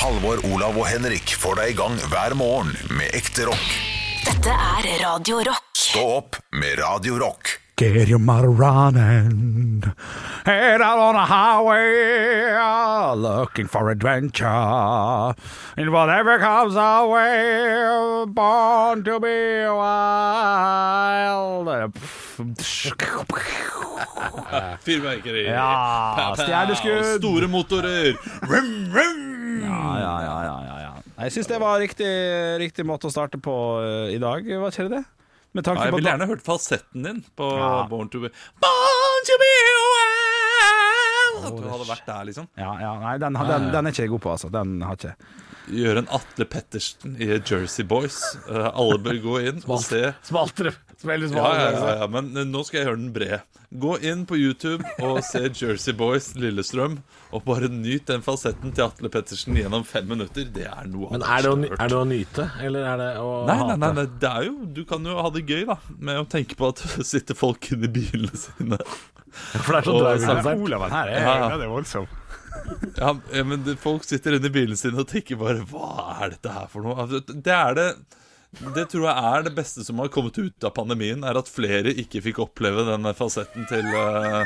Halvor, Olav og Henrik får deg i gang hver morgen med ekte rock. Dette er Radio Rock. Stå opp med Radio Rock. Get your motor running, head out on a highway, ah, looking for adventure. In whatever comes our way, born to be wild. Fyrverkeri. Ja, Pow, pow. stjerneskudd. Store motorer. Rum, rum. Ja, ja, ja, ja, ja, ja. Jeg syns det var riktig, riktig måte å starte på eh, i dag, hva skjer det? Med Ja, tanke jeg på ville gjerne hørt falsetten din på Ja. Born to be Born to be wild. At du hadde vært der, liksom. ja, ja, nei, den, har- den, den er ikke jeg god på, altså. Den har ikke Gjøre en Atle Pettersen i Jersey Boys. Eh, alle bør gå inn og se. Smaltere. Veldig Ja, ja, ja, ja, men eh, nå skal jeg gjøre den bred. Gå inn på YouTube og se Jersey Boys Lillestrøm. Og bare nyt den falsetten til Atle Pettersen gjennom fem minutter. Det er noe av Men er det, verste jeg å, ny- har hørt. er det å nyte, eller er det å Nei, nei, hate? nei, nei, det er jo Du kan jo ha det gøy, da, med å tenke på at det sitter folk inni bilene sine. For det er sånn så Og- dragkonsert. Olaven her er, Ja. den er voldsom. Ja, ja, men det- Folk sitter inni bilene sine og tenker bare Hva er dette her for noe? Altså, Det er det Det tror jeg er det beste som har kommet ut av pandemien, er at flere ikke fikk oppleve den fasetten til, eh,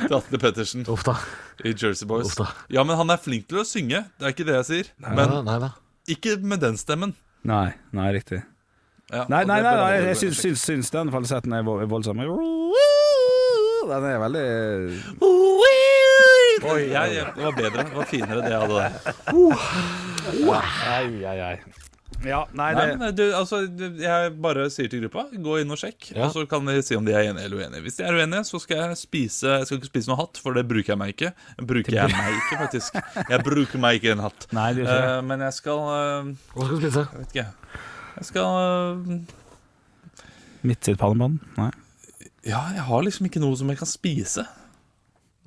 til Atle Pettersen Uff da. i Jersey Boys. Uff da. Ja, men han er flink til å synge, det er ikke det jeg sier. nei, Men nei da. ikke med den stemmen. Nei, nei, riktig. Ja, Nei, og nei, nei, det bør nei alle jeg gå inn og syns, sjekke. syns, syns den falsetten er vo- voldsom. Den er veldig Oi, jeg, jeg, det var bedre. Det var finere, det jeg hadde der. Ai, ai, ai. Ja, nei, Nei, det men du, altså, du- jeg bare sier til gruppa, gå inn og sjekk, Ja. og så kan de si om de er enige eller uenige. Hvis de er uenige, så skal jeg spise Jeg skal ikke spise noe hatt, for det bruker jeg meg ikke. Bruker jeg meg ikke, faktisk. Jeg bruker meg ikke en hatt. Nei, det gjør ikke Eh, men jeg skal eh, Hva skal du spise? Jeg vet ikke. Jeg skal eh, Midt sitt pannebånd? Nei. Ja, jeg har liksom ikke noe som jeg kan spise.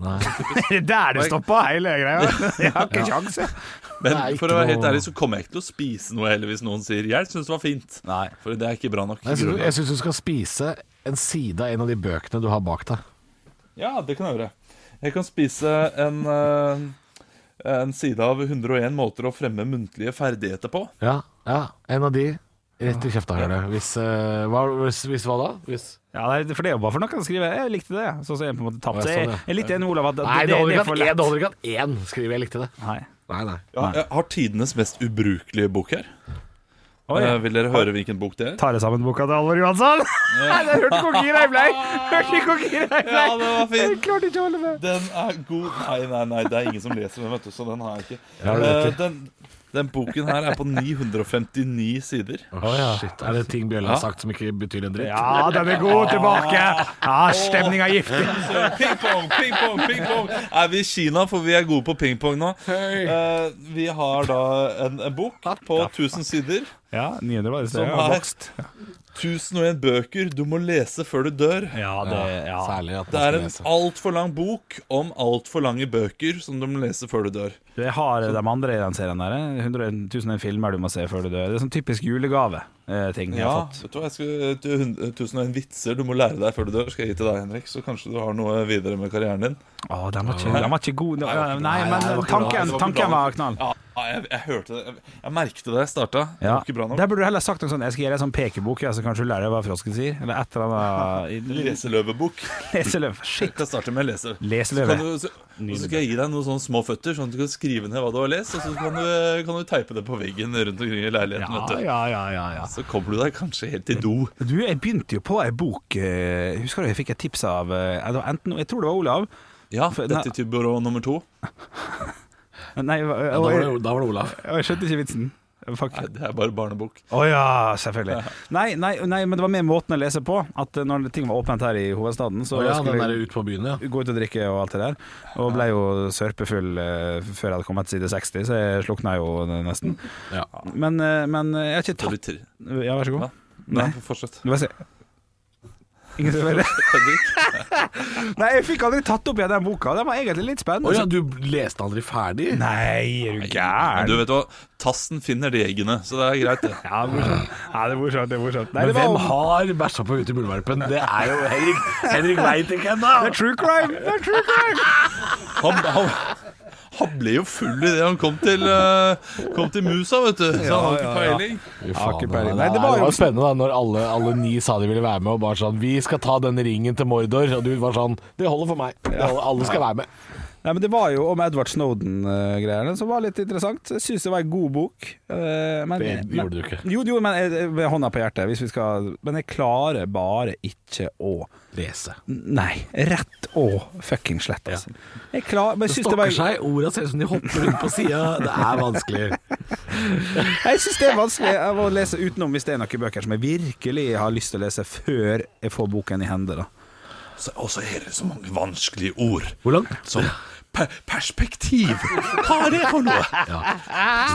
Nei. Det er der det stopper hele greia. Jeg har ikke kjanse. Men Nei, ikke for å være helt noe- ærlig så kommer jeg ikke til å spise noe heller hvis noen sier 'jeg syns det var fint'. Nei. For det er ikke bra nok. Jeg syns, jeg syns du skal spise en side av en av de bøkene du har bak deg. Ja, det kan jeg gjøre. Jeg kan spise en, eh, en side av 101 måter å fremme muntlige ferdigheter på. Ja, ja. En av de rett i kjefta. hører du. Hvis, eh, hva, hvis, hvis hva da? Hvis Ja, nei, for det er jo bare for noen kan skrive 'jeg likte det', sånn som jeg på en måte tapte. Å, jeg Jeg, så det. jeg likte en Olav at at Nei, det holder er ikke for at én, det holder ikke at én skriver 'jeg likte det'. Nei. Nei, nei. Ja, jeg har tidenes mest ubrukelige bok her. Oi, Eh, Vil dere høre hvilken bok det er? Tar jeg sammen boka til Halvor Johansson? Nei, jeg hørte hvor gira jeg ble! Hørte ikke hvor gira jeg ble! Ja, det var Jeg fint! klarte ikke å holde med. Den er god. Nei, nei, nei, det er ingen som leser den, vet du, så den har jeg ikke. Ja, det vet Eh, Den, den boken her er på 959 sider. Å, Altså, shit. Er det ting Bjølle har sagt som ikke betyr en dritt? Ja, den er god tilbake. Ja, stemninga er giftig. Så Ping-pong, ping-pong, ping-pong! Er vi i Kina, for vi er gode på ping-pong nå. Eh, vi har da en, en bok på 1000 sider. Ja, 900 var det Som stedet. er- Ja, vokst. 1001 bøker du må lese før du dør. Ja, det, Eh, ja. Særlig at Det man er skal en lese. altfor lang bok om altfor lange bøker som du må lese før du dør. Det har de andre i den serien der. eh. 100 000 filmer du må se før du dør. Det er sånn typisk julegave-ting jeg har Ja, fått. vet du hva, jeg skal, eh, du, 1001 vitser du må lære deg før du dør, skal jeg gi til deg, Henrik. Så kanskje du har noe videre med karrieren din. Å, den var ikke, den var ikke god. Nei, Nei, det men var ikke bra. tanken, Det var ikke tanken bra. var knall. Ja, jeg, jeg hørte det. Jeg, jeg merkte det jeg starta. Det Ja. var ikke bra nok. Der burde du heller sagt noe sånn Jeg skal gi deg en sånn pekebok, ja, så kanskje du lærer deg hva frosken sier. Eller et eller annet. Leseløvebok. Leseløv. Shit. Jeg kan starte med lese. Så, Leseløve. kan du, så, og så skal jeg gi deg noen sånne små føtter, sånn at du kan skrive ned hva du har lest, og så kan du, kan du teipe det på veggen rundt omkring i leiligheten. Ja, vet du. ja, ja, ja, ja. Så kommer du deg kanskje helt i do. Du, jeg begynte jo på ei bok eh, Husker du jeg fikk et tips av eh, det var enten, Jeg tror det var Olav. Ja, For- detektivbyrå nummer to. Nei, og, Da og, var jeg, det, da var det Olav. og jeg skjønte ikke vitsen. Fuck. Nei, det er bare barnebok. Å ja, selvfølgelig. Nei, nei, nei, men det var mer måten å lese på. At eh, når ting var åpent her i hovedstaden, så Å ja, den skulle der jeg ut på byen, ja. gå ut og drikke og alt det der. Og ble jo sørpefull eh, før jeg hadde kommet til side 60, så jeg slukna jo eh, nesten. ja. Men, eh, men eh, jeg har ikke Så tatt du tri- Ja, vær så god. Hva? Nei, fortsett. Du bare se. Ingen som hører? Henrik. Nei, jeg fikk aldri tatt opp igjen den boka. Den var egentlig litt Å spennende. ja, du leste aldri ferdig? Nei, er du Men gæren? Du vet hva, tassen finner de eggene, så det er greit, det. Ja, morsomt. Ja, det er morsomt. Det er morsomt. Nei, Men det var hvem om- har bæsja på ute i muldvarpen? Det er jo Henrik. Henrik veit ikke Det er ennå. true crime! Det er true crime! Han, han, han ble jo full i det han kom til, eh, kom til Musa, vet du. Så han har Ja, ikke ja, ja. peiling. har Fy ikke faen, altså. peiling. Nei, det var- det det var var jo- jo spennende da når alle, alle ni sa de ville være med, og bare sånn 'Vi skal ta denne ringen til Mordor', og du var sånn 'Det holder for meg'. Det holder, alle skal være med. Nei, men Det var jo om Edward Snowden-greiene som var litt interessant. Jeg syns det var en god bok. eh, men, Det gjorde du ikke. Jo, jo, men jeg, med hånda på hjertet, hvis vi skal Men jeg klarer bare ikke å Lese. Nei, rett og fucking slett, altså. Jeg klarer men jeg synes det var- Stokker seg, orda ser ut som de hopper rundt på sida. Det er vanskelig. Jeg syns det er vanskelig av å lese utenom hvis det er noen bøker som jeg virkelig har lyst til å lese før jeg får boken i hende. Da. Så, og så er det så mange vanskelige ord. Hvor langt? Som per perspektiv. Hva er det for noe?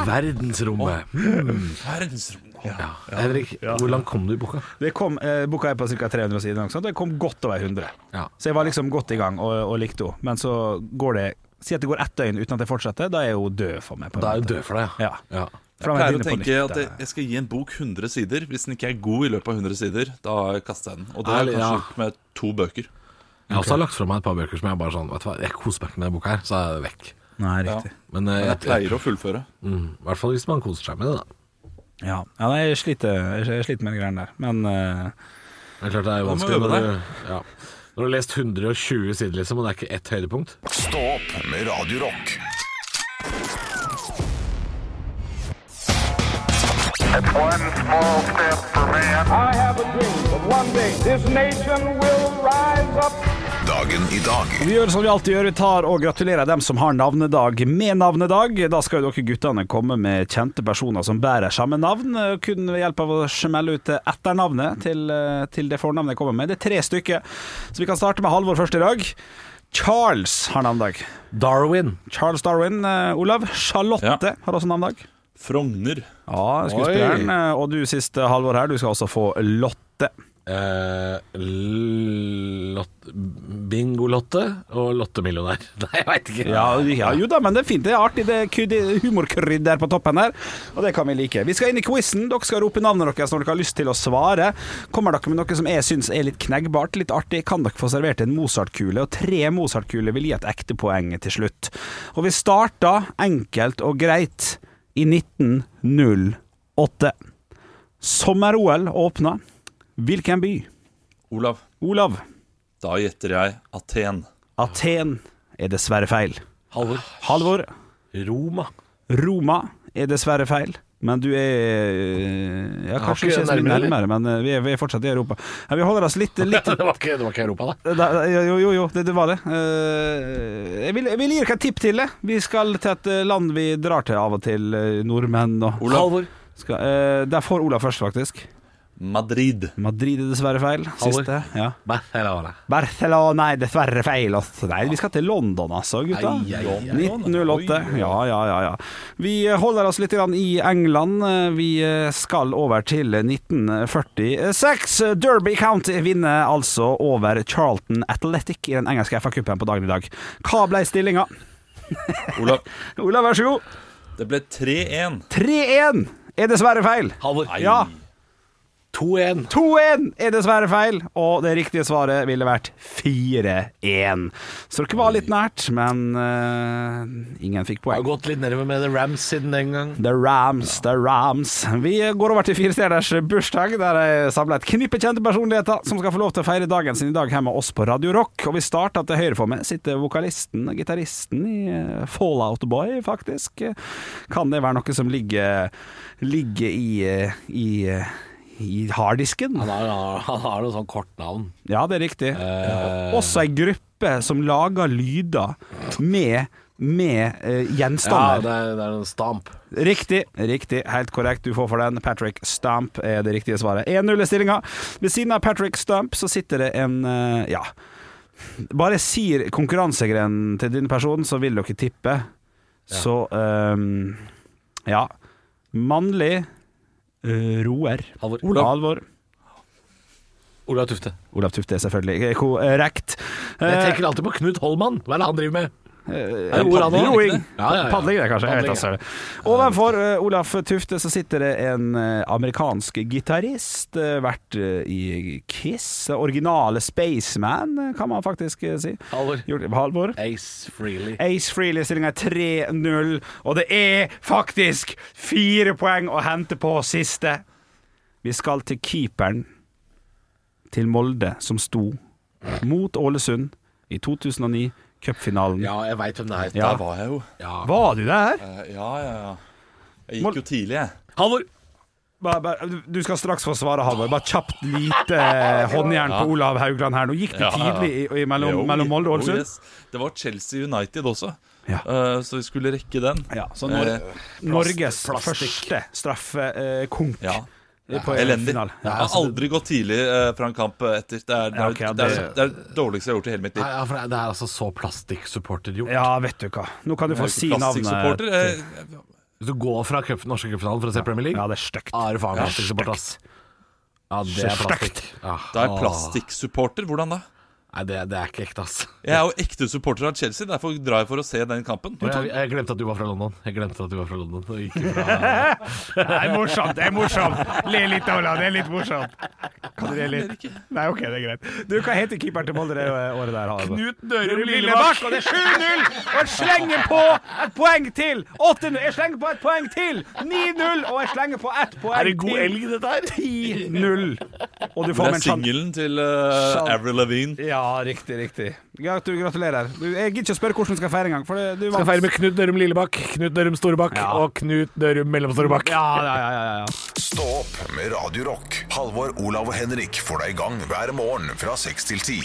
Verdensrommet. Verdensrom. Ja. Henrik, hvor langt kom du i boka? Det kom, eh, boka er på ca. 300 sider, og jeg kom godt over 100. Ja. Så jeg var liksom godt i gang og, og likte henne. Men så går det Si at det går ett døgn uten at jeg fortsetter, da er hun død for meg. På en Da er du måte. død for deg, Ja. ja. For da Jeg må pleier å begynne på tenke nytt, at da. jeg, jeg skal gi en bok 100 sider. Hvis den ikke er god i løpet av 100 sider, da kaster jeg den. Og det har jeg Ærlig, kanskje ja. gjort med to bøker. Jeg har også lagt fra meg et par bøker som jeg bare sånn Vet du hva, jeg koser meg ikke med denne boka her, så er det vekk. Nei, riktig. Men eh, Men jeg jeg, jeg, pleier å fullføre. mm, i hvert fall hvis man koser seg med det, da. Ja, ja nei, jeg sliter, jeg, jeg sliter med de greiene der. Men eh, Det er klart det er jo Da må vanskelig du øve når du, ja. når du har lest 120 sider, liksom, og det er ikke ett høydepunkt. Stå opp med Radio Rock. One small step for man. I have a dream that one day this nation will rise up. Dagen i dag. vi gjør som vi alltid gjør, vi tar og gratulerer dem som har navnedag med navnedag. Da skal jo dere guttene komme med kjente personer som bærer samme navn, eh, kun ved hjelp av å smelle ut eh, etternavnet til, eh, til det fornavnet jeg kommer med. Det er tre stykker, så vi kan starte med Halvor først i dag. Charles har navnedag. Darwin. Charles Darwin, eh, Olav. Charlotte Ja. har også navnedag. Frogner. Ja, skuespilleren. eh, Og du sist, eh, Halvor her, du skal også få Lotte. Eh, lot, Bingolotte og Lottemillionær. Nei, jeg veit ikke. Ja, ja, jo da, men det er fint. Det er artig. Det er kud- humorkrydder på toppen her, og det kan vi like. Vi skal inn i quizen. Dere skal rope navnet deres når dere har lyst til å svare. Kommer dere med noe som jeg syns er litt kneggbart, litt artig, kan dere få servert en Mozart-kule, og tre Mozart-kuler vil gi et ekte poeng til slutt. Og vi starta enkelt og greit i 1908. Sommer-OL åpna. Hvilken by? Olav, Olav, da gjetter jeg Aten. Aten er dessverre feil. Halvor. Halvor, Roma. Roma er dessverre feil. Men du er ja, Kanskje ikke ikke så mye nærmere, nærmere, men eh, vi er, vi er fortsatt i Europa. Ja, vi holder oss litt, litt eh, Det var, ikke, det var ikke Europa, da. da, da- Jo, jo, jo det, det var det. Eh, Jeg vil, jeg vil gi dere et tipp til. det. Vi skal til et eh, land vi drar til av og til, eh, nordmenn og Olav. Halvor. skal, eh, Der får Olav først, faktisk. Madrid. Madrid er dessverre feil. Siste. Ja. Barcelona. Barcelona, nei, dessverre feil. altså. Nei, vi skal til London, altså, gutta. Ai, ai, ai. 1908. Ja, ja, ja, ja. Vi holder oss litt grann i England. Vi eh, skal over til 1946. Derby County vinner altså over Charlton Athletic i den engelske FA-cupen på dagen i dag. Hva ble stillinga? Olav, Olav, vær så god. det ble 3-1. 3-1 er dessverre feil. Halvor. Nei. Ja. 2-1. 2-1 er dessverre feil, og det riktige svaret ville vært 4-1. Så dere var litt nært, men eh, ingen fikk Jeg har poeng. gått litt nedover med The Rams siden den gang. The Rams, the Rams. Vi går over til firestjerners bursdag, der jeg samler et knippe kjente personligheter som skal få lov til å feire dagen sin i dag her med oss på Radio Rock. Og vi starter til høyre for meg sitter vokalisten og gitaristen i eh, Fallout Boy, faktisk. Kan det være noe som ligger, ligger i, eh, i, eh, i harddisken? Han har, han har, han har noe sånn kort navn. Ja, det er riktig. Eh. Også ei gruppe som lager lyder med, med eh, Ja, gjenstander. det er, det er en stamp. Riktig, riktig, helt korrekt. Du får for den. Patrick Stamp er det riktige svaret. 1-0 i stillinga. Ved siden av Patrick Stamp så sitter det en eh, Ja. Bare jeg sier konkurransegrenen til din person, så vil dere tippe. Så eh, Ja. Mannlig eh, roer. Halvor. Alvor. Olav Tufte. Olav Tufte, selvfølgelig. Korrekt. Jeg Eh, tenker alltid på Knut Holman. Hva er det han driver med? Er det ord han også? Roing. Ja, ja, ja. Padling, det, kanskje. Jeg vet da Padling, søren. Ovenfor eh, Olaf Tufte så sitter det en eh, amerikansk gitarist, eh, vært eh, i Kiss. Originale Spaceman, eh, kan man faktisk eh, si. Halvor. Gjort- Halvor. Ace Freely. Ace Freely stillinga er 3-0, og det er faktisk fire poeng å hente på siste. Vi skal til keeperen til Molde, som sto mot Ålesund i 2009, cupfinalen. Ja, jeg veit hvem det er. Ja. Der var jeg jo. Var du der? Eh, Ja, ja, ja. Jeg Mol- gikk jo tidlig, jeg. Halvor! Bare- bare- du- Du skal straks få svare, Halvor. Bare kjapt lite håndjern på Olav Haugland her. Nå gikk det Ja, ja, ja. tidlig i, i mellom, Jo, mellom Molde og jo, Ålesund. yes. Det var Chelsea United også, Ja. Eh, så vi skulle rekke den. Ja, så Nor Eh, Norges plastikk. første straffekonk Ja. på Elendig. altså. finalen. Jeg har aldri gått tidlig eh, fra en kamp etter. Det er altså, det, Ja, er, ok, ja, det, det- er, det er det dårligste jeg har gjort i hele mitt liv. Nei, ja, for det er- det er altså så plastikksupportergjort. Ja, vet du hva. Nå kan du få si navnet. Plastikksupporter. eh, Hvis du går fra cup, norske cupfinalen for å se Premier League, Ja, det er stygt. Ah. da er du faen Ja, meg plastikksupporter, ass. Ja, det er Støkt. plastikk. Ja. Da er Åh. jeg plastikksupporter. Hvordan da? Nei, det, det er ikke ekte, ass. Jeg er jo ekte supporter av Chelsea, derfor drar jeg for å se den kampen. Og Jeg, jeg glemte at du var fra London. Jeg glemte at du var fra London. Og ikke fra Det er morsomt. det er morsomt Le litt, Ola. Det er litt morsomt. Kan du le litt? Nei, OK, det er greit. Du, Hva heter keeperen til Molde det året der? Halvor? Knut Dørum Knut Lillebakk. Og det er 7-0! Og jeg slenger på et poeng til! 8-0. Jeg slenger på et poeng til! 9-0, og jeg slenger på ett poeng til! Er det god elg, dette her? 10-0. Og du Det får med er en sjanse. singelen til uh, Sjan- Avril Lavigne. Ja, riktig, riktig. Grat- Gratulerer. Du, jeg gidder ikke å spørre hvordan du skal feire engang. for det- du Skal vant. feire med Knut Dørum Lillebakk, Knut Dørum Storebakk Ja. og Knut Dørum Mellomstorebakk. Ja, ja, ja, ja, ja. Stå opp med Radio Rock. Halvor, Olav og Henrik får deg i gang hver morgen fra 6 til 10.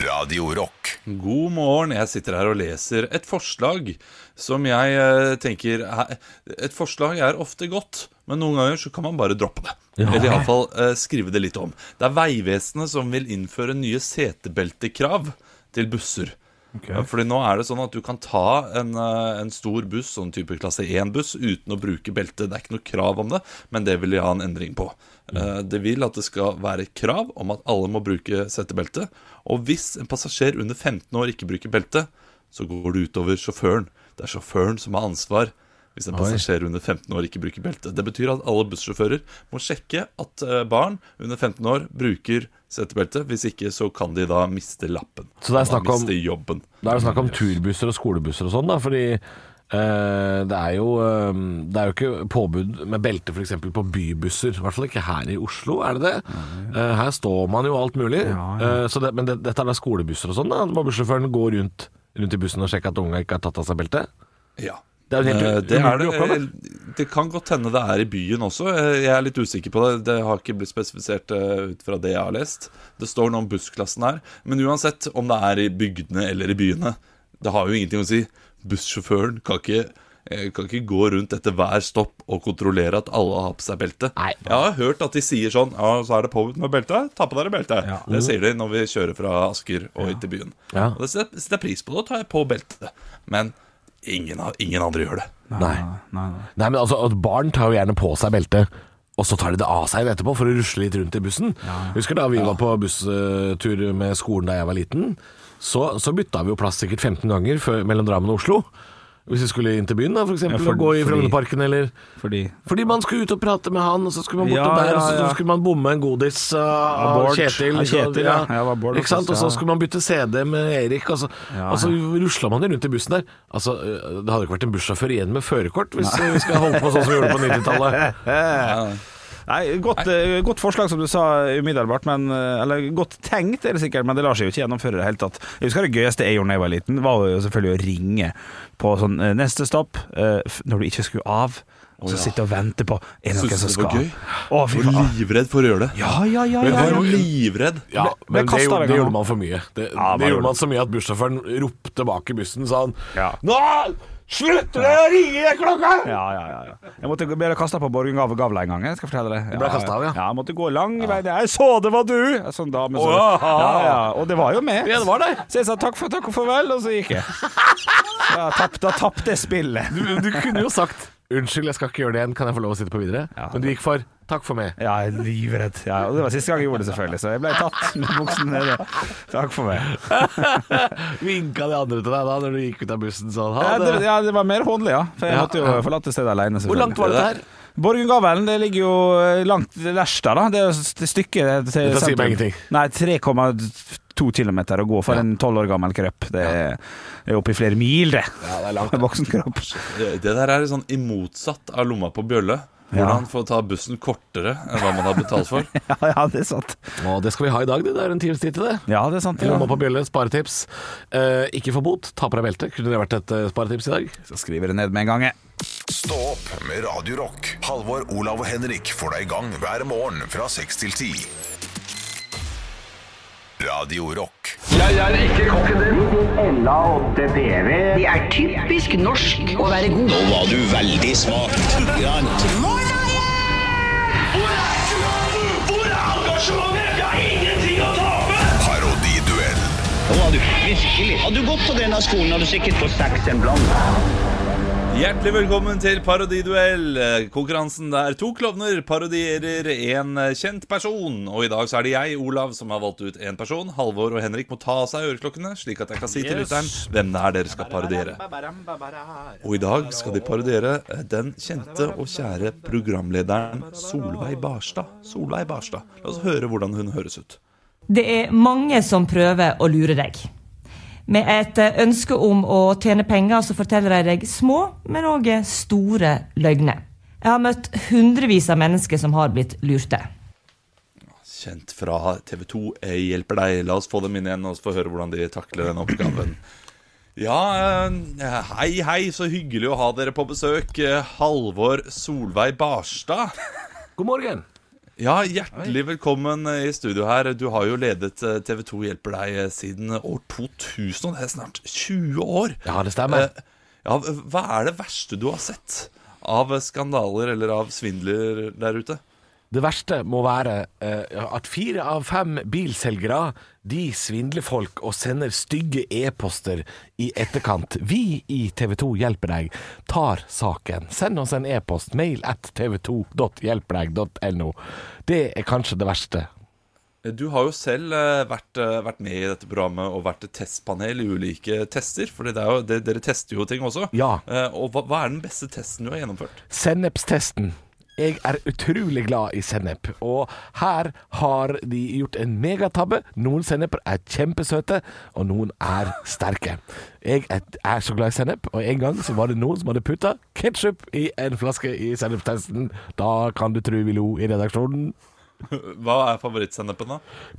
Radio Rock. God morgen. Jeg sitter her og leser et forslag som jeg eh, tenker er- Et forslag er ofte godt, men noen ganger så kan man bare droppe det. Eller iallfall uh, skrive det litt om. Det er Vegvesenet som vil innføre nye setebeltekrav til busser. Ja, Fordi nå er det sånn at du kan ta en, eh, en stor buss, sånn type klasse 1-buss, uten å bruke belte. Det er ikke noe krav om det, men det vil de ha en endring på. Eh, Det vil at det skal være et krav om at alle må bruke settebelte. Og hvis en passasjer under 15 år ikke bruker belte, så går det utover sjåføren. Det er sjåføren som har ansvar hvis en passasjer under 15 år ikke bruker belte. Det betyr at alle bussjåfører må sjekke at eh, barn under 15 år bruker settebelte. Hvis ikke så kan de da miste lappen. Så det er Da snakk om- miste jobben. Da er det snakk om turbusser og skolebusser og sånn, da, fordi eh, det, er jo, eh, det er jo ikke påbud med belte f.eks. på bybusser. I hvert fall ikke her i Oslo, er det det? Eh, her står man jo alt mulig. Eh, så det, men det, dette er da skolebusser og sånn? da? Må bussjåføren gå rundt, rundt i bussen og sjekke at unga ikke har tatt av seg beltet? Ja. Det er jo en helt Eh, u- det, er umulig oppgave. det, det kan godt hende det er i byen også. Eh, Jeg er litt usikker på det. Det har ikke blitt spesifisert eh, ut fra det jeg har lest. Det står noe om bussklassen her. Men uansett om det er i bygdene eller i byene, det har jo ingenting å si. Bussjåføren kan ikke eh, kan ikke gå rundt etter hver stopp og kontrollere at alle har på seg belte. Nei. Jeg har hørt at de sier sånn Ja, så er det påbudt med belte. Ta på dere belte. Det sier de når vi kjører fra Asker og inn til byen. Ja. Og det setter setter jeg pris på. Da tar jeg på beltet. Men ingen, av- ingen andre gjør det. Nei. Nei, men altså, at barn tar jo gjerne på seg belte. Og så tar de det av seg igjen etterpå for å rusle litt rundt i bussen. Husker da vi var på busstur med skolen da jeg var liten, så, så bytta vi jo plass sikkert 15 ganger før, mellom Drammen og Oslo. Hvis vi skulle inn til byen, da, for eksempel, Ja, for- og gå i fordi- Frognerparken eller Fordi Fordi man skulle ut og prate med han, og så skulle man bortom Ja, der, og så, ja, ja. så skulle man bomme en godis uh, av Bård. Kjetil. Av ikke sant? Kjetil, ja. Jeg var Bård ikke sant? faktisk, Og så ja. skulle man bytte CD med Erik, og så, Ja, og så rusla man jo rundt i bussen der. Altså, uh, det hadde ikke vært en bussjåfør igjen med førerkort hvis uh, vi skal holde på sånn som vi gjorde på 90-tallet. Eh, Nei, godt, eh, godt forslag som du sa umiddelbart, men, eh, eller godt tenkt er det sikkert, men det lar seg jo ikke gjennomføre i det hele tatt. Jeg husker det gøyeste jeg gjorde da jeg var liten, var jo selvfølgelig å ringe på sånn eh, neste stopp, eh, f- når du ikke skulle av, så ja. sitte og vente på er det Synes noen du som det skal var av? gøy? Å, fy Og faen. livredd for å gjøre det. Ja, ja, ja. Men ja, var jo ja. livredd. Ja, Ble- ble men det, kastet den gjorde- det gangen. gjorde man for mye. Det, Ja, man det gjorde gjorde man så mye at bussjåføren ropte bak i bussen, sa han Ja. Nå slutter dere å ringe den klokka! Ja, ja, ja, ja. Jeg måtte ble kasta på Borgen Gave Gavla en gang. Jeg skal fortelle det. Du ble kastet av, ja. ja. Jeg måtte gå lang vei. Jeg så det var du! En Sånn dame som Åh. ja, ja. Og det var jo meg. Ja, det var det. Så jeg sa takk for takk og farvel, og så gikk jeg. Så jeg tapp, da tapte jeg spillet. Du, du kunne jo sagt Unnskyld, jeg skal ikke gjøre det igjen, kan jeg få lov å sitte på videre? Ja. Men du gikk for Takk for meg. Jeg er livredd. Ja, og det var siste gang jeg gjorde det, selvfølgelig, så jeg ble tatt med buksen nede. Takk for meg. Vinka de andre til deg da når du gikk ut av bussen sånn? Ha Ja, det, det. ja, det var mer håndlig, ja. For jeg Ja, måtte jo ja. forlate stedet alene. Hvor langt var det her? Borgundgavelen det ligger jo eh, langt til Lerstad, da. Det er jo et stykke eh, til Dette sier sentrum. meg ingenting. Nei, 3,2 km å gå for en tolv år gammel krøpp. Det er det er oppe i flere mil, det. Ja, det er langt. Voksen kropp. Det det der er sånn i motsatt av lomma på bjølle. Ja. Hvordan få ta bussen kortere enn hva man har betalt for. Ja, ja, det er sant. Å, det skal vi ha i dag, det. Det er en times tid til det. Ja, det er sant. Ja. Lomma på bjølle, sparetips. Eh, ikke få bot, ta på deg beltet. Kunne det vært et eh, sparetips i dag? Så skriver jeg det ned med en gang, jeg. Stå opp med Radio Rock. Halvor, Olav og Henrik får deg i gang hver morgen fra 6 til 10. Radio Rock. Det er typisk norsk å være god. Nå var du veldig smart. Grann. Parodiduell. Nå var du virkelig. Hadde du gått på denne skolen, hadde du sikkert fått seks en blant. Hjertelig velkommen til Parodiduell. Konkurransen der to klovner parodierer en kjent person. Og i dag så er det jeg, Olav, som har valgt ut en person. Halvor og Henrik må ta av seg øreklokkene, slik at jeg kan si til lytteren hvem det er dere skal parodiere. Og i dag skal de parodiere den kjente og kjære programlederen Solveig Barstad. Solveig Barstad. La oss høre hvordan hun høres ut. Det er mange som prøver å lure deg. Med et eh, ønske om å tjene penger så forteller de deg små, men òg store løgner. Jeg har møtt hundrevis av mennesker som har blitt lurte. Kjent fra TV 2 eh, hjelper deg. La oss få dem inn igjen og få høre hvordan de takler den oppgaven. Ja, eh, hei, hei, så hyggelig å ha dere på besøk. Eh, Halvor Solveig Barstad. God morgen. Ja, hjertelig velkommen eh, i studio her. Du har jo ledet eh, TV 2 Hjelper deg eh, siden år 2000, og det er snart 20 år. Ja, det stemmer. Eh, Ja, hva er det verste du har sett av eh, skandaler eller av svindler der ute? Det verste må være eh, at fire av fem bilselgere de svindler folk og sender stygge e-poster i etterkant. Vi i TV 2 Hjelper deg tar saken. Send oss en e-post. Mail at tv2.hjelperdeg.no. Det er kanskje det verste. Eh, Du har jo selv eh, vært, eh, vært med i dette programmet og vært et testpanel i ulike tester. For det er jo, det, dere tester jo ting også. Ja. Eh, Og hva, hva er den beste testen du har gjennomført? Sennepstesten. Jeg er utrolig glad i sennep, og her har de gjort en megatabbe. Noen senneper er kjempesøte, og noen er sterke. Jeg er- er så glad i sennep, og en gang så var det noen som hadde putta ketsjup i en flaske i sennepstesten. Da kan du tru vi lo i redaksjonen. Hva er favorittsennepen, da?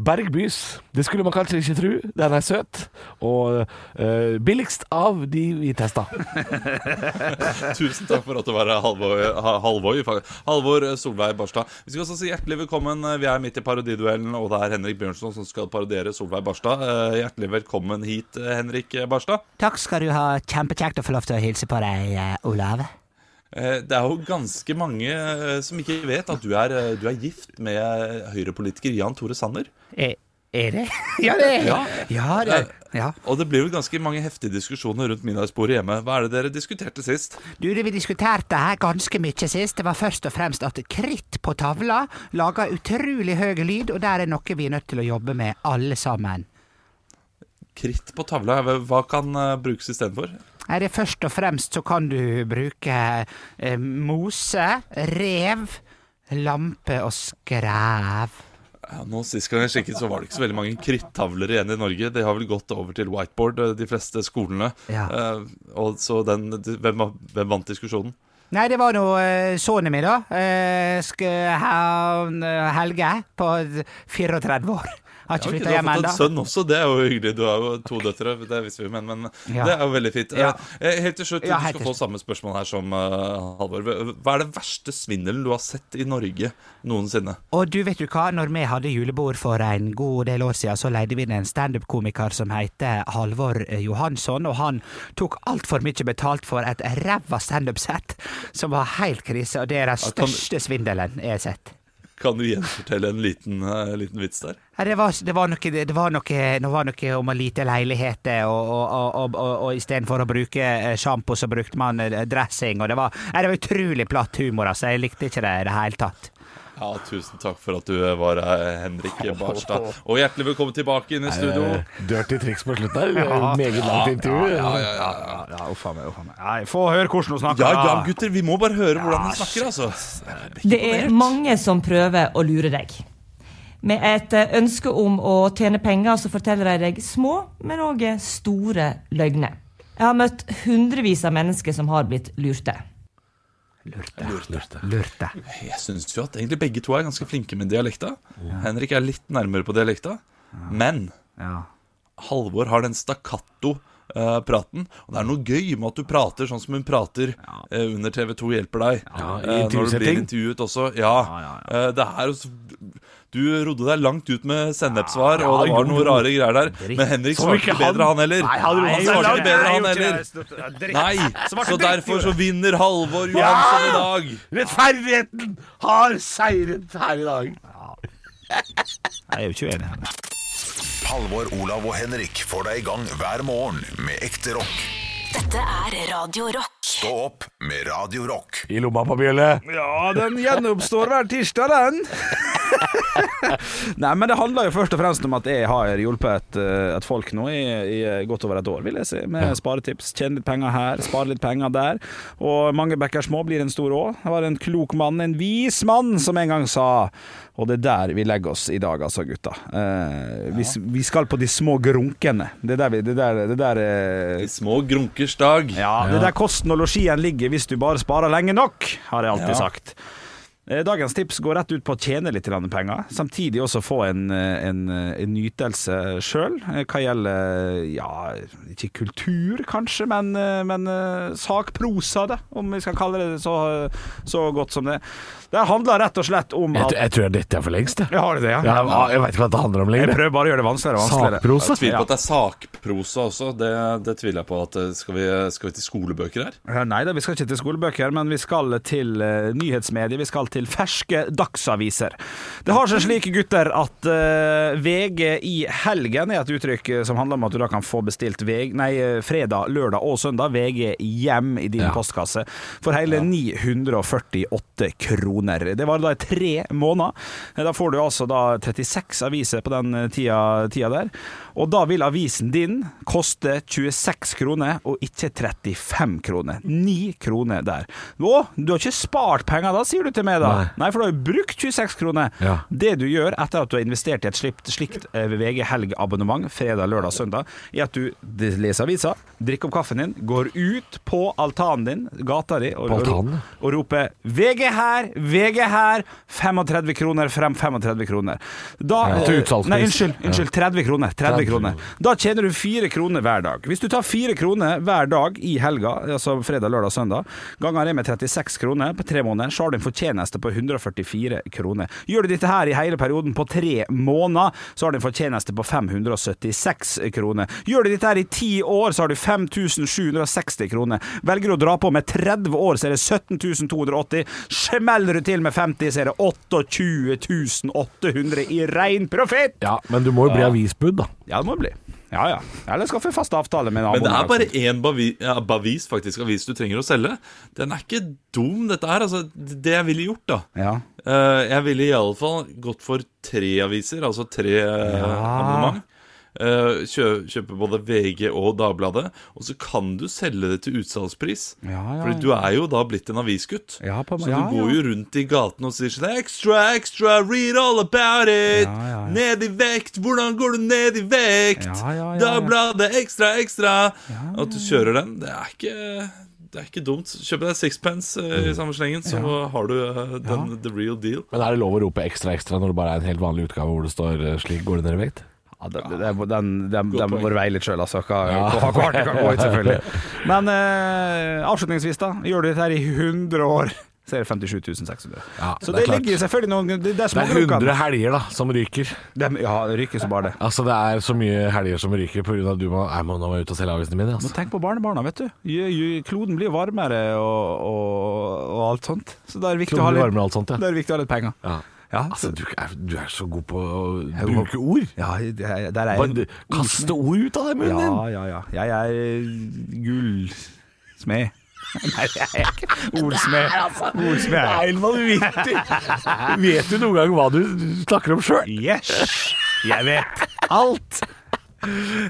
Bergbys. Det skulle man kanskje ikke tru. Den er søt, og eh, billigst av de vi testa. Tusen takk for at du var her, Halvor, Ha- Halvor, fa- Halvor eh, Solveig Barstad. Vi skal også si hjertelig velkommen. eh, Vi er midt i parodiduellen, og det er Henrik Bjørnson som skal parodiere Solveig Barstad. Eh, Hjertelig velkommen hit, eh, Henrik Barstad. Takk skal du ha. Kjempekjekt å få lov til å hilse på deg, eh, Olav. Eh, Det er jo ganske mange eh, som ikke vet at du er, eh, du er gift med eh, høyrepolitiker Jan Tore Sanner. Er, er det? Ja, det er Ja. Ja, det. Ja. Og det blir jo ganske mange heftige diskusjoner rundt middagsbordet hjemme. Hva er det dere diskuterte sist? Du, det vi diskuterte her ganske mye sist, det var først og fremst at kritt på tavla lager utrolig høy lyd, og der er noe vi er nødt til å jobbe med, alle sammen. Kritt på tavla, hva kan eh, brukes istedenfor? Er det først og fremst så kan du bruke eh, mose, rev, lampe og skrev. Ja, nå Sist gang jeg sjekket, så var det ikke så veldig mange krittavler igjen i Norge. De har vel gått over til whiteboard, eh, de fleste skolene. Ja. Eh, og så den, de- hvem, hvem vant diskusjonen? Nei, det var nå eh, sønnen min, da. Eh, sk han, eh, Helge på 34 år. Har Ja, ikke ok, flytta du har hjem fått en ennå. sønn også, det er jo hyggelig. Du har jo to døtre, det visste vi, men, men Ja. det er jo veldig fint. Eh, Ja. eh, helt til slutt, Ja, du helt skal til få samme spørsmål her som eh, Halvor. Hva er det verste svindelen du har sett i Norge noensinne? Og du vet du hva, når vi hadde julebord for en god del år siden, så leide vi inn en standup-komiker som heter Halvor eh, Johansson, og han tok altfor mye betalt for et ræva standup-sett, som var helt krise, og det er den kan- største svindelen jeg har sett. Kan du gjenfortelle en liten, eh, liten vits der? Ja, Det var, det, var noe, det, var noe, det var noe om å lite leiligheter, og, og, og, og, og, og istedenfor å bruke eh, sjampo, så brukte man eh, dressing, og det var, nei, det var utrolig platt humor, altså. Jeg likte ikke det i det hele tatt. Ja, tusen takk for at du eh, var her, Henrik Barstad. Og hjertelig velkommen tilbake inn i studio. Dirty triks på slutten her. Meget langt intervju. Ja, ja, ja, ja. Ja, uff a meg, uff a meg. Nei, få høre hvordan hun snakker. Ja, ja, da. gutter, vi må bare høre hvordan de snakker, altså. Det er mange som prøver å lure deg. Med et eh, ønske om å tjene penger så forteller de deg små, men òg store løgner. Jeg har møtt hundrevis av mennesker som har blitt lurte. Lurte. Lurte. Jeg syns jo at egentlig begge to er ganske flinke med dialekta. Henrik er litt nærmere på dialekta. Men Ja. Halvor har den stakkato-praten. og det er noe gøy med at du prater sånn som hun prater eh, under TV2 hjelper deg. Ja, Eh, når du i blir intervjusetting. intervjuet også. Ja. Eh, det er jo så- Du rodde deg langt ut med sennepssvar, og det var noen rare greier der. Men Henrik Som svarte ikke ikke bedre, han- han heller. Nei, han- han han- svarte ikke bedre, han Nei, heller. gjorde ikke det. Nei, Svarte så dritt, derfor så gjorde. vinner Halvor Johansson i dag. Rettferdigheten har seiret her i dag. Jeg er jo ikke uenig. Halvor, Olav og Henrik får deg i gang hver morgen med ekte rock. Dette er Radio Rock. Stå opp med Radio Rock. I lomma på bjølle. Ja, den gjenoppstår hver tirsdag, den. Nei, men det handler jo først og fremst om at jeg har hjulpet eh, et folk nå i, i godt over et år, vil jeg si, med sparetips. Tjene litt penger her, spare litt penger der. Og mange bekker små blir en stor å. Jeg var en klok mann, en vis mann, som en gang sa Og det er der vi legger oss i dag, altså, gutta. Eh, vi, s- vi skal på de små grunkene. Det er der vi Det der, det der eh, I små grunkers dag. ja, det er der kosten og losjien ligger hvis du bare sparer lenge nok, har jeg alltid Ja. sagt. Eh, Dagens tips går rett ut på å tjene litt grann penger, samtidig også få en, eh, en, eh, en nytelse sjøl. Hva gjelder ja, ikke kultur kanskje, men, eh, men eh, sakprosa, da, om vi skal kalle det så, så godt som det. Det handler rett og slett om Jeg, at tror- jeg tror jeg dette er for lengst, jeg. Jeg har det, ja. Jeg, jeg veit ikke hva det handler om Jeg lenger. prøver bare å gjøre det vanskeligere og vanskeligere. Sakprosa. Tviler på at det er sakprosa også. Det, det tviler jeg på. at eh, Skal vi, skal vi til skolebøker her? Eh, Nei da, vi skal ikke til skolebøker, men vi skal til eh, nyhetsmedier. Vi skal til ferske dagsaviser. Det har seg slik, gutter, at eh, VG i helgen er et uttrykk eh, som handler om at du da kan få bestilt VG, nei, eh, fredag, lørdag og søndag VG hjem i din Ja. postkasse for hele 948 kroner. Det var da i tre måneder. Eh, Da får du altså da 36 aviser på den eh, tida, tida der. Og da vil avisen din koste 26 kroner, og ikke 35 kroner. 9 kroner der. Å, du har ikke spart penger da, sier du til meg da. Nei, Nei. for du har jo brukt 26 kroner. Ja. Det du gjør etter at du har investert i et slikt, slikt eh, VG helgeabonnement fredag, lørdag, søndag, er at du d- leser avisa, drikker opp kaffen din, går ut på altanen din, gata di, og, På og ro- altanen? og roper 'VG her, VG her', 35 kroner frem, 35 kroner. Da, Ja, til utsalgspris. Nei, unnskyld, unnskyld 30 kroner. 30 30 kroner. Da tjener du 4 kroner hver dag. Hvis du tar 4 kroner hver dag i helga, altså fredag, lørdag, søndag, ganger det med 36 kroner på tre måneder, så har du en fortjeneste på 144 kroner. Gjør du dette her i hele perioden på tre måneder, så har du en fortjeneste på 576 kroner. Gjør du dette her i ti år, så har du 5760 kroner. Velger du å dra på med 30 år, så er det 17280. Smeller du til med 50, så er det 28800 i rein profitt! Ja, men du må jo bli avisbud, da. Ja, det må det bli. Ja, ja. Eller skaffe fast avtale med naboen. Men det er bare kanskje. én bavi, ja, bavis faktisk, avis du trenger å selge. Den er ikke dum, dette her. Altså, det jeg ville gjort, da. ja. Eh, jeg ville i alle fall gått for tre aviser, altså tre eh, abonnement. Eh, kjø, kjøpe både VG og Dagbladet, og så kan du selge det til utsalgspris. Ja, ja, Fordi du er jo da blitt en avisgutt. Ja, på- så ja, du går ja. jo rundt i gaten og sier sånn Extra, extra, read all about it! Ja, ja, ja. Ned i vekt, hvordan går du ned i vekt? Ja, ja, ja, ja. Dagbladet, ekstra, ekstra! At du kjører den, det er ikke det er ikke dumt. Kjøp deg sixpence Mm. eh, i samme slengen, så har du eh, den, the real deal. Men er det lov å rope ekstra ekstra når det bare er en helt vanlig utgave hvor det står eh, slik går det ned i vekt? Ja, det- det- Den, den, den, den må poeng. bare veie litt sjøl, altså. Hva, hva, hva hardt det kan gå ut, selvfølgelig. Men eh, avslutningsvis, da. Gjør du dette her i 100 år, så er det 57 600. Ja, så det, det er klart. ligger selvfølgelig noen Det, det er Det små er 100 helger da, som ryker. De, ja, det ryker så bare det. Altså Det er så mye helger som ryker pga. at du må, jeg må nå må jeg ut og selge avisene mine. Men Altså. tenk på barnebarna, vet du. Ju- ju- Kloden blir jo varmere og, og, og alt sånt. Så da er det viktig, å ha Kloden blir litt, varmere og alt sånt, ja. da er det viktig å ha litt penger. Ja. Ja, Altså, så, du er, du er så god på å er god. bruke ord. ja det- der er jeg Bare d- kaste ord ut av deg, munnen din. Ja, ja, ja. Jeg er gullsmed. Nei, det er jeg ikke. Olsmed. Olsmed Det er altså- er jeg. helt vanvittig! Vet du noen gang hva du snakker om sjøl? Yes! Jeg vet alt!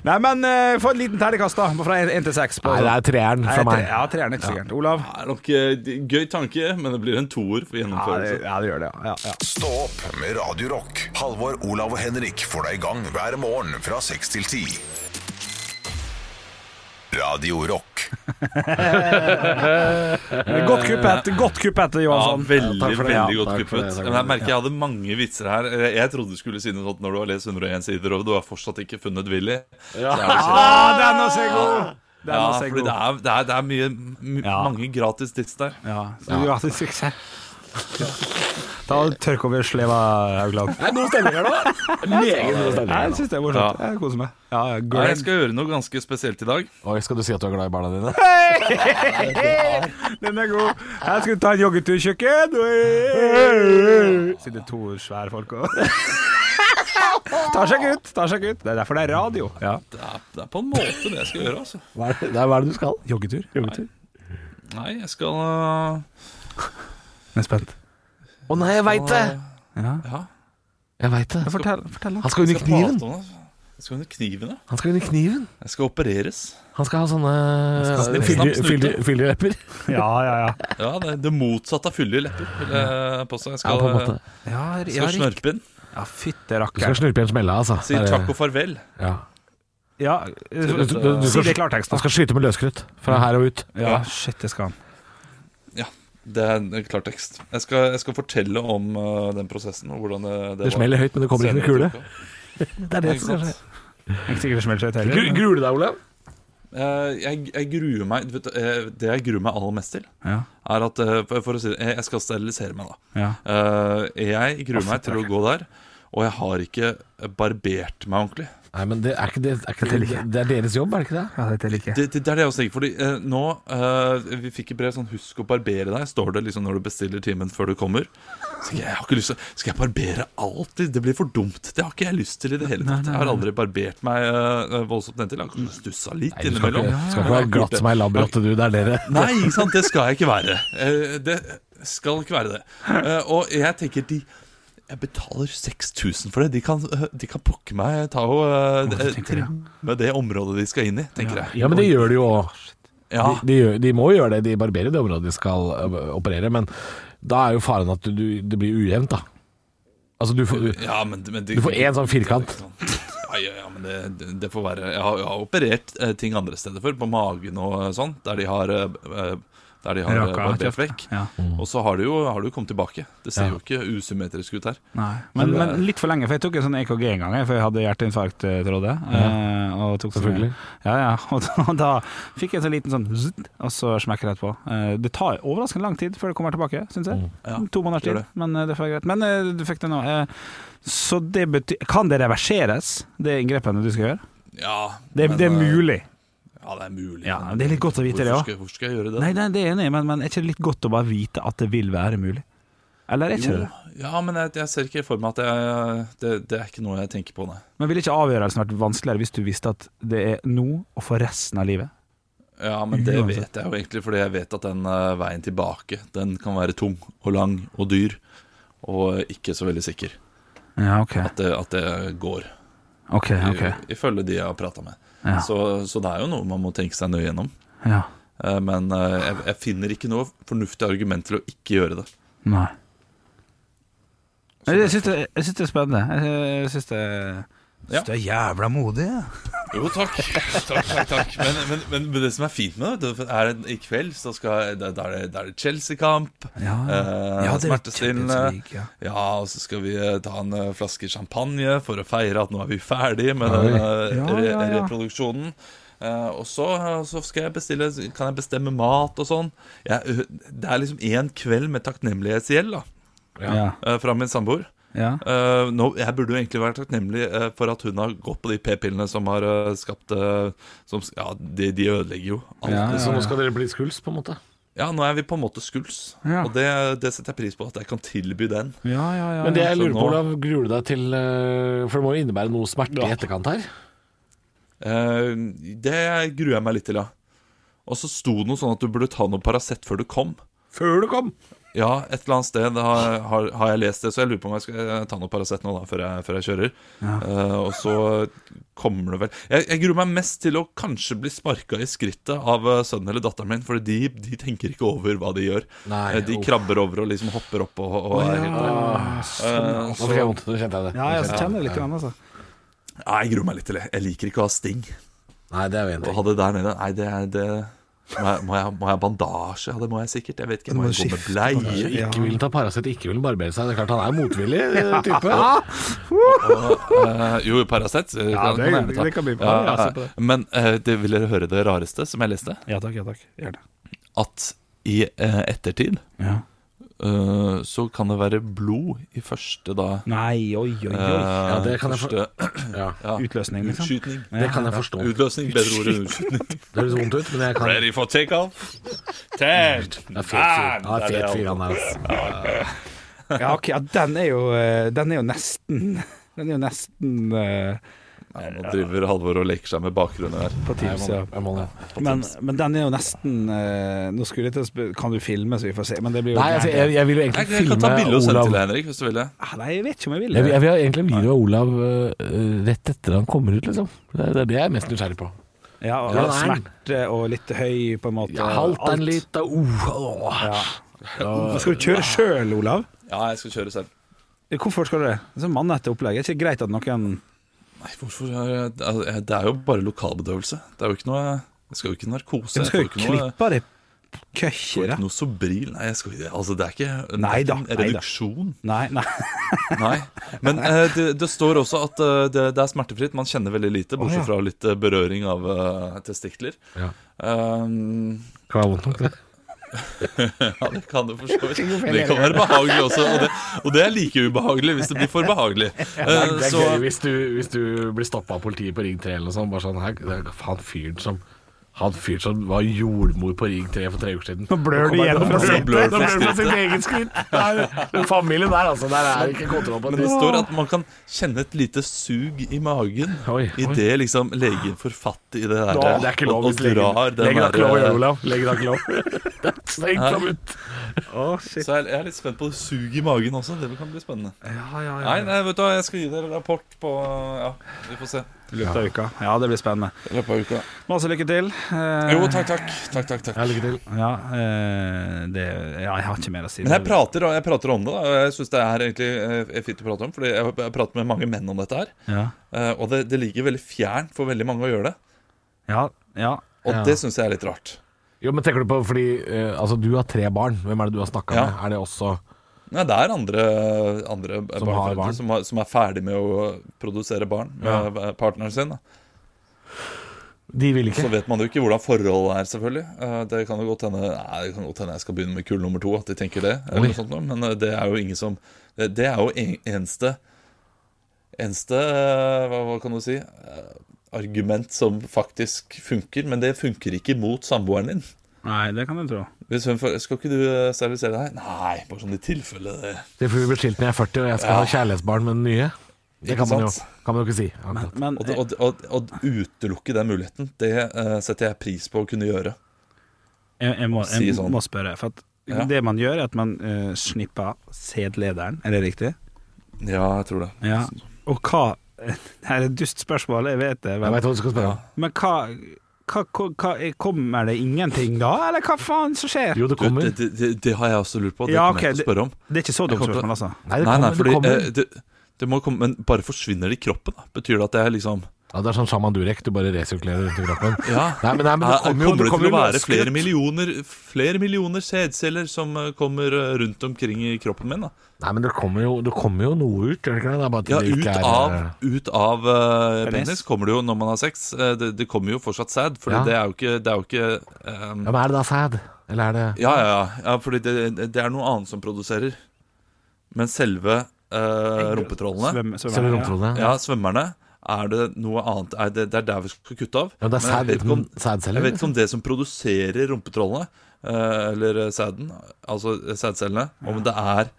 Nei, men eh, få en liten terningkast, da. Fra én til seks. på- Nei, det er treeren Nei, fra tre- meg. Ja, treeren er ikke så gærent. Olav? Det er nok eh, d- gøy tanke, men det blir en toer Ja for det, gjennomførelse. ja, det gjør det. Ja. Ja, ja. Stå opp med Radio Rock. Halvor, Olav og Henrik får deg i gang hver morgen fra 6 til 10. Radio Rock. Godt kuppet, godt kuppet Ja, Johansson. veldig, takk for det, sånn. ja. veldig godt Takk for det, kuppet. takk for Men jeg det. merker jeg hadde mange vitser her. Eh, Jeg trodde du skulle si noe sånt når du har lest 101 sider, og du har fortsatt ikke funnet Willy. Så er det så- Ah, den også er god! Den Ja, også er fordi god. det er, det er, det er mye, m- Ja. mange gratis tips der. Ja, så du har hatt suksess. Ta og tørk over sleva, Haugland. Det er god stemning her nå. Meget god Nei, Jeg stemning. her nå. syns det er morsomt. Jeg koser meg. Ja, Ja, jeg Greg. skal gjøre noe ganske spesielt i dag. Oi, skal du si at du er glad i barna dine? Den er god. Her skal du ta en joggetur, kjøkken. Oi. Sitter to svære folk og Tar seg ikke ut. Tar seg ikke ut. Det er derfor det er radio. Ja. Det er, det er på en måte det jeg skal gjøre, altså. Hva er det, det er, hva er det du skal? Joggetur. joggetur. Nei, jeg skal øh, Jeg er spent. Å nei, jeg veit det! Ja. Jeg vet det. Fortell, fortell. da. Han skal under skal prate kniven. om det. Jeg skal under kniven, ja. Han skal under kniven. Jeg skal opereres. Han skal ha sånne eh, snipp, fyller- snapp, fyller- snute. fyllerlepper. Ja, ja, ja. Ja, det, det motsatte av fyldige lepper, vil jeg påstå. Jeg Ja, skal, eh, på en måte. Ja, skal snørpe inn. Ja, fytte Du skal rakkeren. snurpe igjen smella, altså. Si Det er- takk og farvel. ja. Ja, du, du, du, du, si skal, det i klartekst, da. han skal skyte med løskrutt fra her og ut. Ja, shit, det skal han. Det er en klar tekst. Jeg skal, jeg skal fortelle om øh, den prosessen. Og hvordan det, det, Det var. smeller høyt, men det kommer ikke noen kule. Senere tok av. Det er Ikke sant? Ikke sikkert det smeller seg ut Gru- heller. Gruer du deg, Olav? Eh, jeg, jeg gruer meg du vet, eh, Det jeg gruer meg aller mest til, Ja, er at eh, for, for å si det, jeg- Jeg skal sterilisere meg, da. ja. Eh, jeg gruer meg til å gå der, og jeg har ikke barbert meg ordentlig. Nei, men det er ikke det er ikke, det, det er deres jobb, er det ikke det? ja dette liker jeg. Det, det, det er det jeg også tenker, fordi eh, nå eh, Vi fikk et brev sånn 'Husk å barbere deg', står det liksom når du bestiller timen før du kommer. Så jeg, jeg har ikke lyst til Skal jeg barbere alltid? Det blir for dumt. Det har ikke jeg lyst til i det hele tatt. Jeg har aldri barbert meg eh, voldsomt nedtil. Jeg har kanskje stussa litt Nei, du skal innimellom. ikke, skal ikke være glatt som ei labrotte, du. Det er dere. Nei, ikke sant? det skal jeg ikke være. Eh, Det skal ikke være det. Eh, Og jeg tenker de jeg betaler 6000 for det. De kan, eh, de kan plukke meg ta og eh, Hvorfor tenker du det? trimme det området de skal inn i, tenker jeg. Ja, men det gjør de jo òg. Ja, De, gjør- de må gjøre det. De barberer det området de skal ø, operere, men da er jo faren at du, du, det blir ujevnt, da. Altså, du får ja men, men de, Du får én sånn firkant. Ja, ja, ja, men det, det- det får være Jeg har, jeg har operert eh, ting andre steder før, på magen og eh, sånn, der de har eh, eh, der de har eh, Raka barbert kjeft. vekk. Ja. Og så har det jo, har det jo kommet tilbake. Det ser jo ikke usymmetrisk ut her. Nei. Men, men litt for lenge, for jeg tok en sånn EKG en gang, jeg, for jeg hadde hjerteinfarkt, eh, trodde jeg. Eh, og tok sånn- Selvfølgelig. Ja, ja. Og da, og da fikk jeg en sånn liten sånn zzzt, og så smekker det etterpå. Eh, det tar overraskende lang tid før det kommer tilbake, syns jeg. Mm. Ja, to måneders gjør tid, det. men eh, det får være greit. Men eh, du fikk det nå. Eh, så det bety Kan det reverseres, det inngrepene du skal gjøre? Ja, Det, men, det er eh, mulig. Ja, det er mulig. Ja, men det er litt godt å vite hvorfor det, ja. Skal, hvorfor skal jeg gjøre det? Nei, nei, det er jeg enig i, men, men er ikke det litt godt å bare vite at det vil være mulig? Eller er ikke jo, det? ja, men jeg, jeg ser ikke for meg at jeg, det, det er ikke noe jeg tenker på, nei. Men ville ikke avgjørelsen vært vanskeligere hvis du visste at det er nå og for resten av livet? Ja, men det Uansett. vet jeg jo egentlig, fordi jeg vet at den eh, veien tilbake, den kan være tung og lang og dyr, og ikke så veldig sikker Ja, ok. at det, at det går, Ok, i- ok. ifølge de jeg har prata med. Ja. Så, så det er jo noe man må tenke seg nøye gjennom. Ja. Eh, Men eh, jeg, jeg finner ikke noe fornuftig argument til å ikke gjøre det. Nei. Jeg, jeg, syns det, jeg syns det er spennende. Jeg, jeg syns det, jeg Ja. syns det er jævla modig. jeg. Jo, takk. takk, takk, takk. Men, men, men, men det som er fint med det, det er at i kveld så skal, da, da er det, da er det Chelsea-kamp. Ja. eh, Ah. Ja, det er Champions smertestillende. League, ja. Ja, og så skal vi eh, ta en eh, flaske champagne for å feire at nå er vi ferdig med Oi. den Ja, eh, re ja, ja. reproduksjonen. Eh, og så, så skal jeg bestille Kan jeg bestemme mat og sånn. Jeg, det er liksom én kveld med takknemlighetsgjeld da Ja. eh, fra min samboer. Ja. Eh, nå- jeg burde jo egentlig være takknemlig eh, for at hun har gått på de p-pillene som har eh, skapt eh, som, s- Ja, de, de ødelegger jo alt. Ja, liksom. Så nå skal dere bli skuls, på en måte? Ja, nå er vi på en måte skuls, Ja. og det, det setter jeg pris på. At jeg kan tilby den. Ja, ja, ja. Men det jeg Så lurer på, nå- Olav, gruer du deg til ø, For det må jo innebære noe smerte i etterkant her? Eh, det gruer jeg meg litt til, ja. Og så sto det noe sånn at du burde ta noe Paracet før du kom. Før du kom? Ja, et eller annet sted har, har, har jeg lest det, så jeg lurer på om jeg skal eh, ta noe Paracet nå da, før jeg, før jeg kjører. Ja. Eh, og så kommer det vel Jeg, jeg gruer meg mest til å kanskje bli sparka i skrittet av eh, sønnen eller datteren min, for de, de tenker ikke over hva de gjør. Nei, Eh, de uff. krabber over og liksom hopper opp og, og er helt der. Eh, Nå fikk jeg vondt, nå kjente jeg det. Ja, jeg kjenner det litt, grann, altså. Nei, jeg gruer meg litt til det. Jeg liker ikke å ha sting. Nei, det er jo en Å ting. ha det der nede Nei, det er det Må jeg, må jeg, må jeg ha bandasje? Ja, det må jeg sikkert. Jeg vet ikke. Du må Må jeg gå med skifte bleie? Ja. Ikke vil ta Paracet, ikke vil barbere seg. Det er klart han er motvillig eh, type. Eh, jo, Paracet. eh, Ja, det- kan jeg gjerne ta. det kan bli bra. Ja, Ja, ja. se på det. Men eh, det, vil dere høre det rareste som jeg leste? Ja takk, ja takk. Gjerne. At i eh, ettertid Ja. eh, så kan det være blod i første da Nei, oi, oi, oi. eh, Ja, det kan jeg for- første Ja, Utløsning, liksom. utskytning. det kan jeg forstå. Utløsning. Bedre ord enn utskytning. Det høres vondt ut, men jeg kan Ready for takeoff? Ten! Ah, Det er fet Ah, fyr. Ja, fet fyr han er. altså. Ja, ok, ja, den er jo eh, Den er jo nesten Den er jo nesten eh, Ja, nå driver Halvor og leker seg med bakgrunnen her. på tips, ja. Jeg må det. Men, men den er jo nesten eh, Nå skulle jeg til å spørre Kan du filme, så vi får se? Men det blir jo Nei, altså, jeg, jeg vil jo Jeg, egentlig jeg kan ta bilde og filme sende til Olav deg, Henrik, hvis du vil det. Ah, Nei, jeg vet ikke om jeg vil jeg vil, det. jeg vil ha egentlig en video av Olav eh, rett etter han kommer ut, liksom. Det er det er det jeg er mest nysgjerrig på. Ja, og Ja, nei. smerte og litt høy, på en måte. Ja, halt alt. den litt, da. Uh, åh. Ja. Skal du kjøre sjøl, Olav? Ja, jeg skal kjøre selv. Hvorfor skal du det? Det er Sånn mannete opplegg. Er det ikke greit at noen Nei, hvorfor er jeg- altså, jeg- Det er jo bare lokalbedøvelse. Det er jo ikke noe Jeg skal jo ikke narkose. Du Jeg skal får jo ikke noe, klippe av det får ikke køkkeret. noe Sobril. Nei, jeg skal ikke Altså, det er ikke, det er Nei da, ikke en nei da. reduksjon. Nei, nei. Nei. Men eh, det, det står også at eh, det, det er smertefritt. Man kjenner veldig lite, bortsett fra litt eh, berøring av eh, testikler. Ja. Um, Kan være vondt nok, det. Ja, det kan du for så vidt. Det kan være behagelig også, og det, og det er like ubehagelig hvis det blir for behagelig. Det Eh, er, det er Så gøy hvis du, hvis du blir stoppa av politiet på Ring 3 eller noe sånt. Bare sånn, her, det er han fyren som han fyren som var jordmor på Ring 3 for tre uker siden. Nå blør du kommer- igjen nå fra blør- skrittet. blør du fra sitt eget skritt. Det er- Den familien der, altså. Der er ikke kontroll på men det står at man kan kjenne et lite sug i magen Oi, oi. idet liksom legen får fatt i det der eh, Nå, det er ikke lov og, og hvis legen drar den Legen har der- eh, ikke lov å gjøre det, Olav. Legen har ikke lov. Det er strengt Hæ? forbudt. Så jeg, er- jeg er litt spent på det suget i magen også. Det kan bli spennende. Nei, nei, vet du hva, jeg skal gi dere rapport på Ja, vi får se. I løpet av uka. Ja, det blir spennende. I løpet av uka. Masse lykke til. Eh, Jo, takk, takk. takk, takk, takk. Ja, lykke til. Ja, eh, det, ja, jeg har ikke mer å si. Men jeg prater, jeg prater om det, da. og jeg syns det er egentlig eh, fint å prate om. Fordi jeg jeg prater med mange menn om dette her. Ja, Eh, og det, det ligger veldig fjernt for veldig mange å gjøre det. ja, ja. Og Ja. det syns jeg er litt rart. Jo, men tenker du på, fordi eh, altså, du har tre barn. Hvem er det du har snakka Ja. med? Er det også Nei, det er andre, andre Som barneforeldre har barn. Som, har, som er ferdig med å produsere barn med partneren sin. Da. De vil Så ikke. vet man jo ikke hvordan forholdet er, selvfølgelig. Eh, det kan jo godt hende Nei, det kan godt hende jeg skal begynne med kull nummer to, at de tenker det. Oi. Eller noe sånt, noe, men eh, det er jo ingen som Det, det er jo en, eneste Eneste eh, hva, hva kan du si? eh, argument som faktisk funker, men det funker ikke mot samboeren din. Nei, det kan du tro. Hvis hun får, skal ikke du eh, sterilisere deg? Nei, bare sånn i tilfelle det Det er fordi vi blir skilt når jeg er 40 og jeg skal ha kjærlighetsbarn med den nye. Det kan man jo, kan man jo ikke si. akkurat. Men og, og, og, og utelukke den muligheten, det eh, setter jeg pris på å kunne gjøre. jeg, jeg, må, jeg Si sånn. må spørre. For at Ja. det man gjør, er at man eh, snipper sædlederen. Er det riktig? Ja, jeg tror det. Ja. Og hva Det her er et dust spørsmål, jeg vet det. Jeg Men, veit hva du skal spørre om. men hva, hva, hva, hva Kommer det ingenting da, eller hva faen som skjer? Jo, det Du, kommer. det, det, det, det har jeg også lurt på. Det Ja, kommer jeg ok, til å spørre om. Det er ikke så Jeg dumt kommer til å- spørsmål, altså. Nei, Nei, det kommer. nei, fordi det kommer. eh, det, det må komme Men bare forsvinner det i kroppen, da? Betyr det at det er liksom ja, det er sånn Shaman Durek, du bare resirkulerer rundt i kroppen. Ja. Nei, men, nei, men det Eh, kommer jo det til å være løsskrutt. flere millioner Flere millioner sædceller som eh, kommer eh, rundt omkring i kroppen min? da Nei, men det kommer jo, det kommer jo noe ut, gjør det ikke det? det? er bare at Ja, det ut ikke er, av, eh, ut av eh, Penis. penis kommer det jo når man har sex. Eh, det, det kommer jo fortsatt sæd, for Ja. det er jo ikke, det er jo ikke ehm, Ja, men er det da sæd? Eller er det Ja, ja, ja, ja fordi det, det er noe annet som produserer. Men selve eh, rumpetrollene, Svøm- svømmer, selve ja. romtrollene? Ja. ja, svømmerne, er det noe annet er det, det er der vi skal kutte av. Ja, men det Men jeg er sæd vet ikke om- uten sædceller, Jeg vet ikke om det som produserer rumpetrollene, eh, eller sæden, altså sædcellene, om det er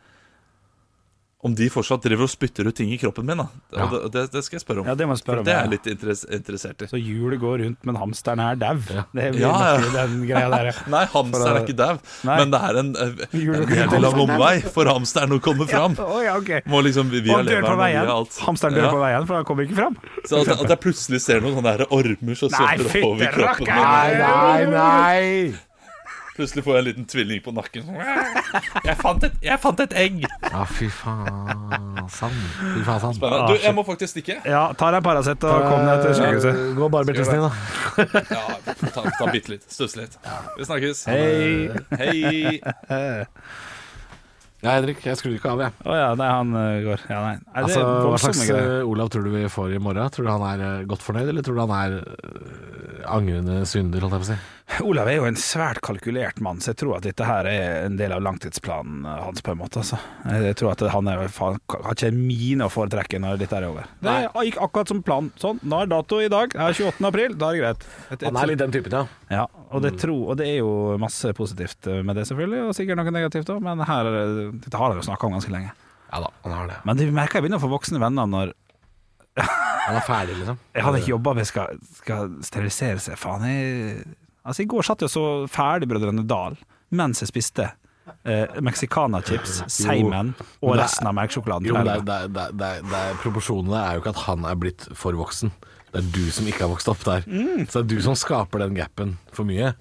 om de fortsatt driver og spytter ut ting i kroppen min. Da. Og det, det skal jeg spørre om. Ja, det må jeg spørre om, For det er ja. jeg litt interes- interessert i. Så hjulet går rundt, men hamsteren er dau. Det blir Ja, nok ja. den greia der. ja. Nei, hamsteren er For, ikke dau, Nei. men det er en, eh, Hjulet en går veldig rundt. lang omvei for hamsteren å komme fram. Ja, å, ja, ok. Må liksom via Og dør på leveren og veien. via alt. Hamsteren dør Ja. på veien, for han kommer ikke fram. Så at, at jeg plutselig ser noen sånne her ormer som Nei, svømmer oppover fytterakker! kroppen min. nei, nei! Plutselig får jeg en liten tvilling på nakken. sånn, Jeg fant et, jeg fant et egg! Ja, fy faen. Sann. Fy faen, sann. Ah, Spennende. Du, jeg må faktisk stikke. Ja, tar deg en Paracet og Ah, kom deg til sykehuset. Gå og barber tissen din, da. Ja, ta, ta bitte litt. Stusse litt. Vi snakkes. Hei. Hei. Ja, Henrik, jeg skrur ikke av, jeg. Å ja, nei, han eh, går. Ja, nei. nei det Altså, er hva slags voldsomme greier. eh, Olav tror du vi får i morgen? Tror du han er eh, godt fornøyd, eller tror du han er eh, angrende synder, holdt jeg på å si? Olav er jo en svært kalkulert mann, så jeg tror at dette her er en del av langtidsplanen eh, hans, på en måte. Altså. Jeg tror at han er, faen, har ikke en mine å foretrekke når dette er over. Det gikk akkurat som plan. Sånn, nå er dato i dag. Det er 28. april, da er det greit. Et- et- Han er litt Mm. den typen, ja. Ja, og det, tro, og det er jo masse positivt eh, med det, selvfølgelig, og sikkert noe negativt òg, men her, er det- dette har jeg jo snakka om ganske lenge. Ja da, han er det. Men det merker jeg begynner å få voksne venner når Han er ferdig, liksom. jeg hadde ikke jobba med skal, skal sterilisere seg. Faen, jeg Altså, i går satt jeg og så ferdig Brødrene Dal mens jeg spiste eh, mexicanachips, Seimen og men det er- resten av melkesjokoladen. Jo, men det er, det er, det er, det er, det er, Proporsjonene er jo ikke at han er blitt for voksen. Det er du som ikke har vokst opp der. Mm. Så det er du som skaper den gapen for mye.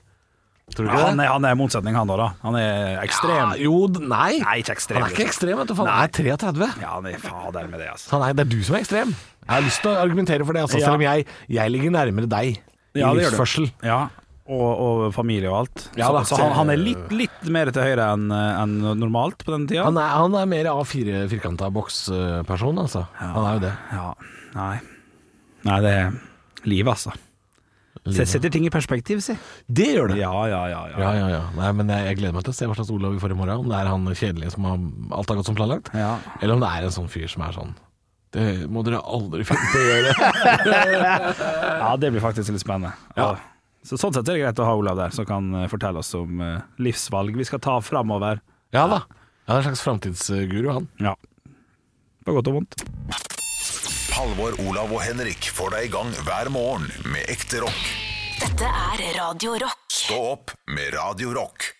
Tror Ja, du ikke han, det? er, han er motsetning, han da. da. Han er ekstrem. Ja, jo, d- nei. Nei, ikke ekstrem. liksom. Han er ikke ekstrem, vet du. Faen, han er 33. Ja, han er fader med det, altså. Så han er, det er du som er ekstrem. Jeg har lyst til å argumentere for det, altså, Ja. selv om jeg, jeg ligger nærmere deg i Ja, det gjør du. livsførsel. Ja, og, og familie og alt. Ja da. så så han, han er litt, litt mer til høyre enn enn normalt på denne tida. Han er, han er mer A4 firkanta boksperson, altså. Han er jo det. Ja, nei. Nei, det er livet, altså. Se- Setter ting i perspektiv, si. Det gjør det! Ja, ja, ja. ja. Ja, ja, ja. Nei, men jeg, jeg gleder meg til å se hva slags Olav vi får i morgen. Om det er han kjedelige som har alt har gått som planlagt, Ja. eller om det er en sånn fyr som er sånn Det må dere aldri finne på å gjøre. Ja, det blir faktisk litt spennende. Ja. Så Sånn sett er det greit å ha Olav der, som kan eh, fortelle oss om eh, livsvalg vi skal ta framover. ja da. Han er en slags framtidsguru, han. Ja. På godt og vondt. Halvor, Olav og Henrik får deg i gang hver morgen med ekte rock. Dette er Radio Rock. Stå opp med Radio Rock.